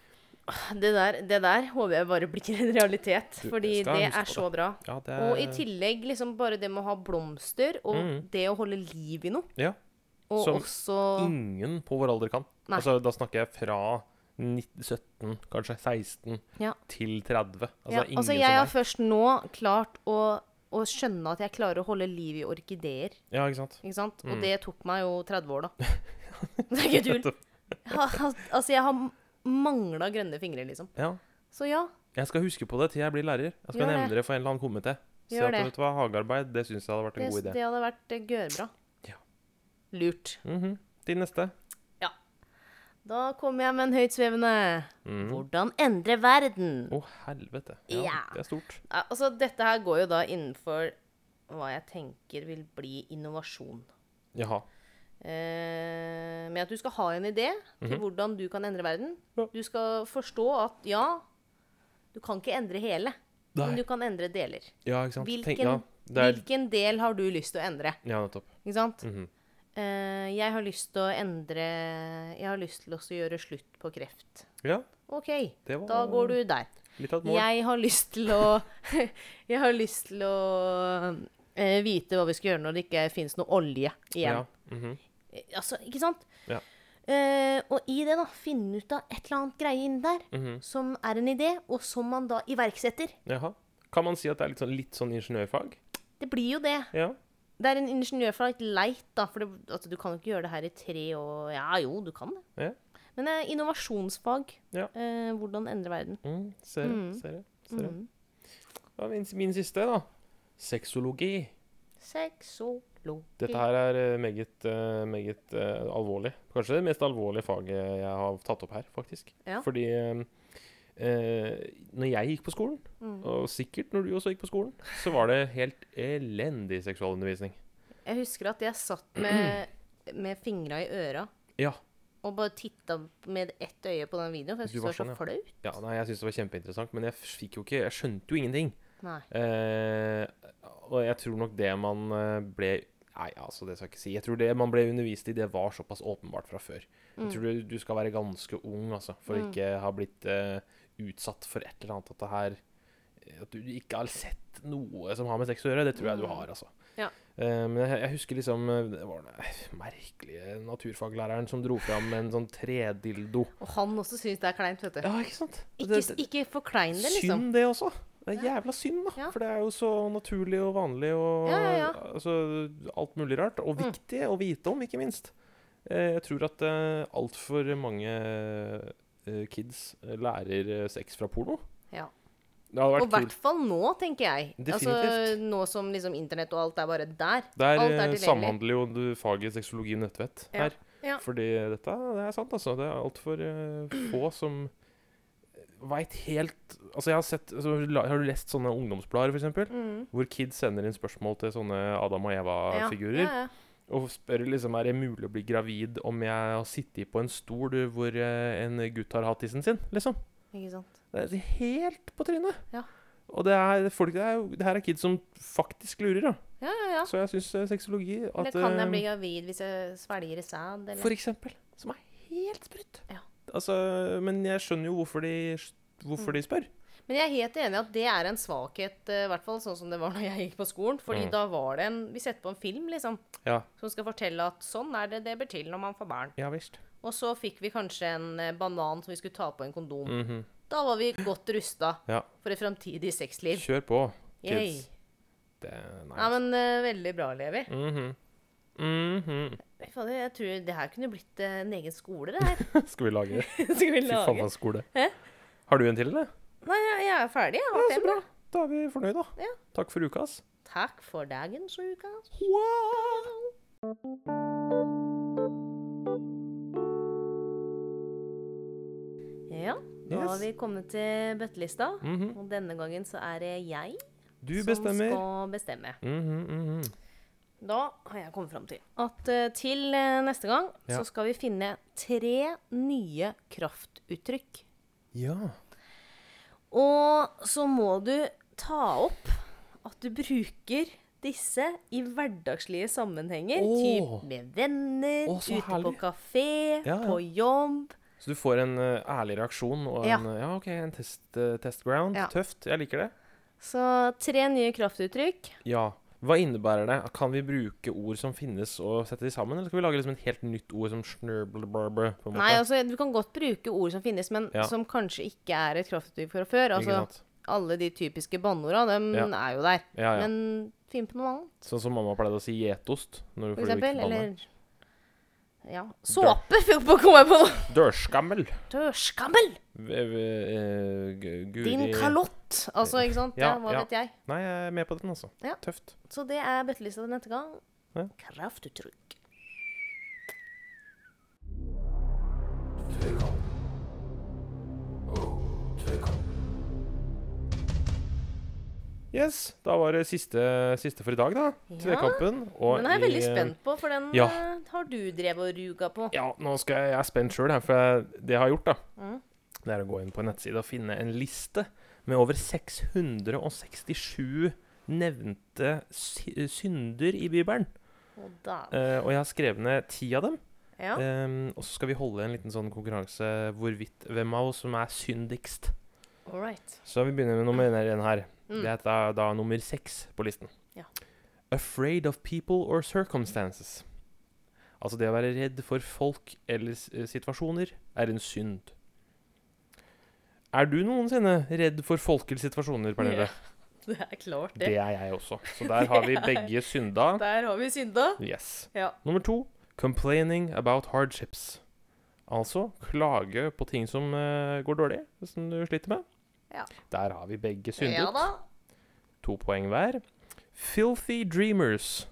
Det der, det der håper jeg bare blir en realitet, Du, fordi jeg skal det huske er på så bra. Ja, det er Og i tillegg liksom bare det med å ha blomster, og Mm. det å holde liv i noe. Ja. Og Som også ingen på vår alder kan. Nei. Altså, da snakker jeg fra 19, 17, kanskje 16, Ja. til 30. Altså, ja, det er ingen altså, jeg har som er først nå klart å, å skjønne at jeg klarer å holde liv i orkideer. Ja, ikke sant? Ikke sant? Og Mm. det tok meg jo [LAUGHS] 30 år, da. Det er ikke tull. Jeg har- Altså, jeg har mangla grønne fingre, liksom. Ja. Så ja. Jeg skal huske på det til jeg blir lærer. Jeg skal Gjør det. nevne det for en eller annen komité. Si Gjør at det. vet du hva, hagearbeid, det syns jeg hadde vært en Det, god idé. det hadde vært eh, gørbra. Ja. Lurt. Mhm. Til neste. Da kommer jeg med en høytsvevende Mm. Hvordan endre verden? Å, helvete. Ja, Ja. Det er stort. Ja, Altså, dette her går jo da innenfor hva jeg tenker vil bli innovasjon. Jaha. Eh, med at du skal ha en idé til hvordan du kan endre verden. Mhm. Ja. Du skal forstå at ja, du kan ikke endre hele, men Nei. du kan endre deler. Ja, ikke sant. Tenk, Hvilken, ja, det er, hvilken del har du lyst til å endre? ja, nettopp. Ikke sant? Mhm. Eh, jeg har lyst til å endre Jeg har lyst til også å gjøre slutt på kreft. Ja, OK, Det var- da går du der. litt av et mål. Jeg har lyst til å [LAUGHS] Jeg har lyst til å eh, vite hva vi skal gjøre når det ikke fins noe olje igjen. Ja. mhm. Eh, Altså, ikke sant? Ja. Eh, og i det, da, finne ut av et eller annet greie inni der Mhm. som er en idé, og som man da iverksetter. Jaha. Kan man si at det er litt sånn, litt sånn ingeniørfag? Det blir jo det. Ja. Det er en ingeniør fra et leit, da, for det, altså, du kan jo ikke gjøre det her i tre år Ja, jo, du kan det. Ja. Men det er innovasjonsfag. Ja. Eh, hvordan endre verden. Mm, ser det, Mm. ser det. Ser det. Mm. Ja, min, min siste, da. Sexologi. Sexologi. Dette her er eh, meget, eh, meget eh, alvorlig. Kanskje det mest alvorlige faget jeg har tatt opp her, faktisk. Ja. Fordi eh, eh, når jeg gikk på skolen, Mm. og sikkert når du også gikk på skolen, så var det helt elendig seksualundervisning. Jeg husker at jeg satt med, med fingra i øra Ja. og bare titta med ett øye på den videoen, for jeg Du syntes det var var så sånn, ja. flaut. ja nei, jeg syntes det var kjempeinteressant, men jeg fikk jo ikke Jeg skjønte jo ingenting. Nei. Eh, og jeg tror nok det man eh, ble Nei, altså, det skal jeg ikke si. Jeg tror det man ble undervist i, det var såpass åpenbart fra før. Jeg tror du, du skal være ganske ung altså, for å ikke ha blitt eh, utsatt for et eller annet at det her eh, At du ikke har sett noe som har med sex å gjøre. Det tror jeg du har, altså. Ja. Eh, men jeg, jeg husker liksom eh, Det var den eh, merkelige naturfaglæreren som dro fram en sånn tredildo. Og han også syns det er kleint, vet du. Ja, ikke sant? Ikke, ikke forklein det, liksom. Synd det også. Det er jævla synd, da. Ja. For det er jo så naturlig og vanlig og Ja, ja, Mm. ja. Altså, alt mulig rart. Og viktig å vite om, ikke minst. Eh, Jeg tror at eh, altfor mange eh, kids lærer eh, sex fra porno. Ja. Det hadde Og i vært hvert kult. fall nå, tenker jeg. Altså, Definitivt. nå som liksom internett og alt er bare der. Der alt er eh, tilgjengelig. samhandler jo du faget sexologi og nettvett Ja. her. Ja. Fordi dette det er sant, altså. Det er altfor uh, få som veit helt Altså, jeg har sett altså, la- Har du lest sånne ungdomsblader, f.eks.? Mm. Hvor kids sender inn spørsmål til sånne Adam og Ja, Eva-figurer. ja, ja. Og spør liksom er det mulig å bli gravid om jeg har sittet på en stol hvor eh, en gutt har hatt tissen sin. liksom. Ikke sant. Det er helt på trynet. Ja. Og det er folk, det, er, jo- det her er kids som faktisk lurer. da. Ja, ja, ja. Så jeg syns sexologi at, Eller kan jeg eh, bli gravid hvis jeg svelger i sæd? Eller? For eksempel. Som er helt sprøtt. Ja. Altså, men jeg skjønner jo hvorfor de, Mm. hvorfor de spør. Men jeg er helt enig i at det er en svakhet, eh, i hvert fall sånn som det var når jeg gikk på skolen. Mm. Fordi da var det en Vi setter på en film, liksom, Ja, som skal fortelle at sånn er det det blir til når man får barn. ja visst. Og så fikk vi kanskje en eh, banan som vi skulle ta på en kondom. Da var vi godt rusta Mhm. Ja. for et framtidig sexliv. Kjør på, Yay. kids. Det, nei. Ja, men eh, veldig bra, Levi. Mm. Mhm. [LAUGHS] Fy fader, jeg tror det her kunne blitt eh, en egen skole, det her. [LAUGHS] Skal vi lage Skal vi Fy faen, altså. for lage en skole. Hæ? Har du en til, eller? Nei, jeg jeg er ferdig. Jeg har fem. da. Da er vi fornøyd, da. Ja. Takk for uka, ass. Takk for dagens uke. Ja, da har Yes. vi kommet til bøttelista. Mhm. Og denne gangen så er det jeg Du som bestemmer. skal bestemme. Mhm, mhm. Da har jeg kommet fram til at eh, til eh, neste gang Ja. så skal vi finne tre nye kraftuttrykk. Ja. Og så må du ta opp at du bruker disse i hverdagslige sammenhenger. Åh. Typ med venner, Å, så ute på herlig. kafé, Ja, ja. på jobb. Så du får en eh, ærlig reaksjon og Ja. en eh, Ja, OK, en test, eh, test ground. Ja. Tøft. Jeg liker det. Så tre nye kraftuttrykk. Ja. Hva innebærer det? Kan vi bruke ord som finnes, og sette de sammen? Eller skal vi lage liksom et helt nytt ord som snørblbarber? på en måte? Nei, altså, du kan godt bruke ord som finnes, men Ja. som kanskje ikke er et kraftuttrykk fra Ikke før. Altså, sant? alle de typiske banneorda, dem Ja. er jo der. Ja, ja. Men finn på noe annet, Sånn som mamma pleide å si gjetost. når du for fordi du ikke eksempel. banner. Eller ja. Såpe [LAUGHS] kom jeg på nå! Dørskammel. Dørskammel! V- v- eh, gu- guri Din kalott! Altså, ikke sant? Ja, Ja, hva ja. vet jeg. Nei, jeg er med på den, altså. Ja. Tøft. Så det er bøttelista til neste gang. Ja. Kraftuttrykk. Yes, da var det siste, siste for i dag, da. Til Ja, kampen. Og Den er jeg i- eh, veldig spent på, for den ja. eh, har du drevet og ruga på. Ja, nå skal jeg, jeg er spent sjøl, for jeg, det jeg har gjort, da, Mm. det er å gå inn på en nettside og finne en liste med over 667 nevnte sy eh, synder i Bibelen. Og da Eh, og jeg har skrevet ned ti av dem. Ja. Eh, og så skal vi holde en liten sånn konkurranse hvorvidt hvem av oss som er syndigst. All right. Så vi begynner med nummer én her. Mm. Det er da, da nummer seks på listen. Ja. Afraid of people or circumstances. Altså det å være redd for folk eller s- eh, situasjoner er en synd. Er du noensinne redd for folk eller situasjoner, Pernille? [LAUGHS] Det er klart, det. Det er jeg også. Så der har [LAUGHS] vi begge synda. Der har vi synda. Yes. Ja. Nummer to complaining about hardships. Altså klage på ting som eh, går dårlig, som du sliter med. Ja. Der har vi begge syndet. Ja da. To poeng hver. Filthy [LAUGHS] dreamers.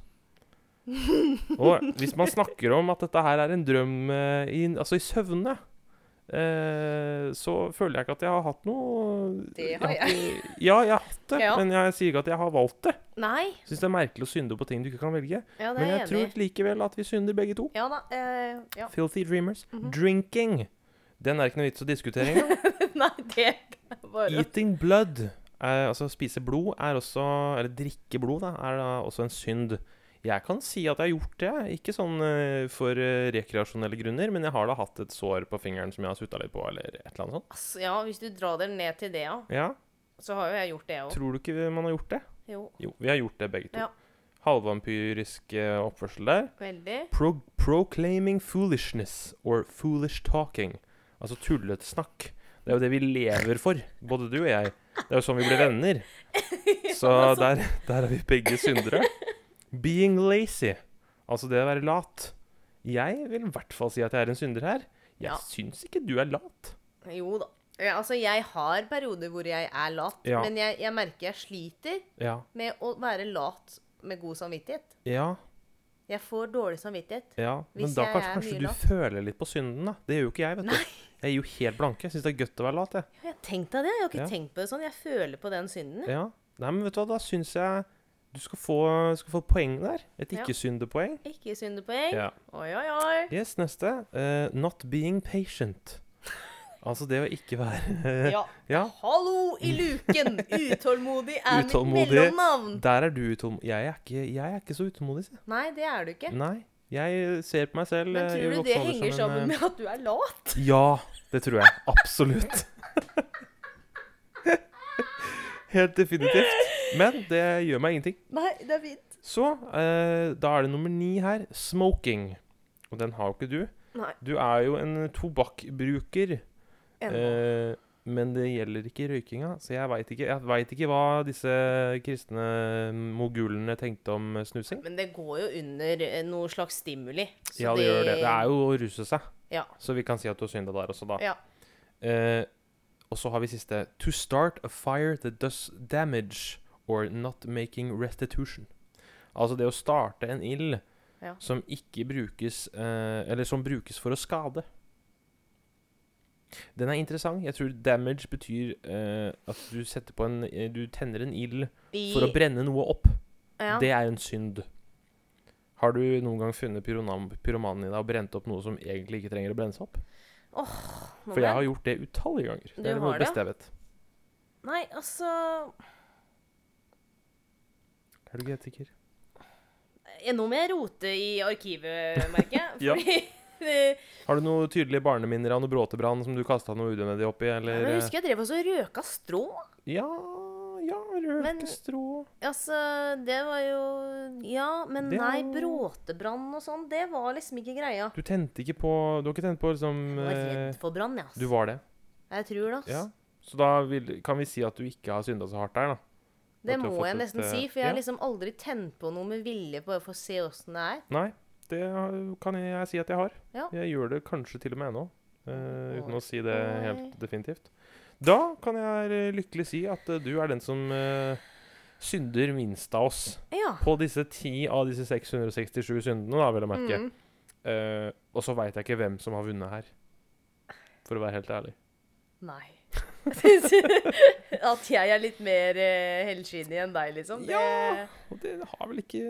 Og hvis man snakker om at dette her er en drøm eh, i, altså i søvne, eh, så føler jeg ikke at jeg har hatt noe Det har jeg. Ja, jeg har hatt det, Ja. men jeg sier ikke at jeg har valgt det. Nei. Syns det er merkelig å synde på ting du ikke kan velge. Ja, det Men jeg er jeg enig i. tror likevel at vi synder begge to. Ja da. eh, ja. Mhm. Filthy dreamers. Drinking. Den er ikke noe vits å diskutere engang. [LAUGHS] Nei, det er bare Eating blood, eh, altså spise blod, er også Eller drikke blod, da, er da også en synd. Jeg kan si at jeg har gjort det. Ikke sånn eh, for eh, rekreasjonelle grunner, men jeg har da hatt et sår på fingeren som jeg har sutta litt på, eller et eller annet sånt. Altså, ja, hvis du drar det ned til det, ja. Ja, Så har jo jeg gjort det òg. Tror du ikke man har gjort det? Jo. Jo, vi har gjort det begge to. Ja. Halvvampyrisk eh, oppførsel der. Veldig. Pro proclaiming foolishness or foolish talking. Altså tullete snakk. Det er jo det vi lever for, både du og jeg. Det er jo sånn vi blir venner. [LAUGHS] Så Altså- der, der er vi begge syndere. Being lazy. Altså det å være lat. Jeg vil i hvert fall si at jeg er en synder her. Jeg Ja. syns ikke du er lat. Jo da. Ja, altså, jeg har perioder hvor jeg er lat, Ja. men jeg, jeg merker jeg sliter Ja. med å være lat med god samvittighet. Ja. Jeg får dårlig samvittighet. ja. Men Hvis da jeg kanskje, er kanskje mye du lat. føler litt på synden, da. Det gjør jo ikke jeg, vet du. Jeg er jo helt blanke. Syns det er godt å være lat, jeg. Jeg har tenkt deg det. Jeg har ikke Ja. tenkt på det sånn. Jeg føler på den synden. jeg. Ja. Nei, men vet du hva, da syns jeg du skal få, skal få poeng der. Et Ja. ikke-syndepoeng. Ikke syndepoeng. Ja. Oi, oi, oi. Yes, neste. Eh, not being [LAUGHS] patient. Altså det å ikke være [LAUGHS] Ja. Ja, Hallo i [LAUGHS] luken! Utålmodig er mitt Utålmodig. mellomnavn. der er du utålmodig. Jeg, er ikke- jeg er ikke så utålmodig, si. Nei, det er du ikke. Nei. Mm, Jeg ser på meg selv Men eh, i tror du voksen det alder henger som en, sammen eh, med at du er [LAUGHS] lat? Ja, det tror jeg. [LAUGHS] Absolutt. [LAUGHS] Helt definitivt. Men det gjør meg ingenting. Nei, det er fint. Så eh, da er det nummer ni her. Smoking. Og den har jo ikke du. Nei. Du er jo en tobakkbruker. ennå. Eh, men det gjelder ikke røykinga, så jeg veit ikke, jeg vet ikke hva disse kristne mogulene tenkte om snusing. Men det går jo under eh, noe slags stimuli. så ja, det, gjør det. Det er jo å ruse seg, Ja. så vi kan si at du har synda der også, da. Ja. Eh, og så har vi siste. To start a fire that does damage or not making restitution. Altså det å starte en ild Ja. som ikke brukes eh, Eller som brukes for å skade. Den er interessant. Jeg tror damage betyr eh, at du setter på en eh, Du tenner en ild I- for å brenne noe opp. ja. Det er en synd. Har du noen gang funnet pyronam- pyromanen i deg og brent opp noe som egentlig ikke trenger å brennes opp? Nå For ble- jeg har gjort det utallige ganger. Du Det er har det det? beste jeg vet. Nei, altså Er du genetiker? eh, Nå må jeg rote i arkivet, merker [LAUGHS] jeg. Ja. Fordi [LAUGHS] eh, Har du noen tydelige barneminner av noe bråtebrann som du kasta noe unødvendig oppi, eller eh? Jeg husker jeg drev også og røka strå. Ja, ja, Men- røkestrå Altså, det var jo Ja, men Det nei, var- bråtebrann og sånn, det var liksom ikke greia. Du tente ikke på Du har ikke tent på liksom Jeg var eh, redd for brann, jeg, ass. Du var det, Jeg tror det, ass. ja. Så da vil, kan vi si at du ikke har synda så hardt der, da. Det At du har må fått jeg et, nesten eh, si, for jeg har ja. liksom aldri tent på noe med vilje bare for å se åssen det er. Nei, det har- kan jeg si at jeg har. Ja. Jeg gjør det kanskje til og med ennå, eh, uten å si det Oi. helt definitivt. Da kan jeg eh, lykkelig si at eh, du er den som eh, synder minst av oss. Ja. På disse ti av disse 667 syndene, da, vil jeg merke. Mm. Eh, og så veit jeg ikke hvem som har vunnet her. For å være helt ærlig. Nei. [LAUGHS] At jeg er litt mer eh, helskinnig enn deg, liksom. Det... Ja. Og det har vel ikke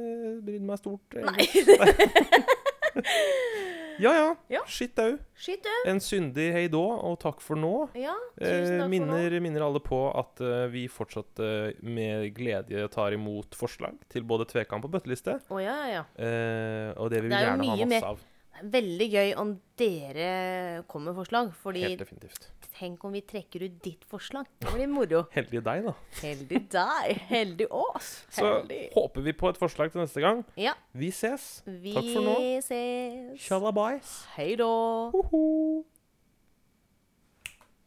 brydd meg stort. egentlig. Nei. [LAUGHS] Ja ja. Ja. Shit au. Shit, du. En syndig hei då, og takk for nå. Ja, tusen Eh, takk for nå. minner, minner alle på at eh, vi fortsatt eh, med glede tar imot forslag til både tvekamp og bøtteliste. Å ja, ja, ja. eh, og det vil vi Det er jo gjerne ha mye masse mer- av. Veldig gøy om dere kommer med forslag, fordi Helt definitivt. tenk om vi trekker ut ditt forslag. Det blir moro. Heldige deg, da. Heldig deg. Heldig oss. Så Heldig. håper vi på et forslag til neste gang. Ja. Vi ses. Vi Takk for nå. ses. Shalabais. Hei da. Ho -ho.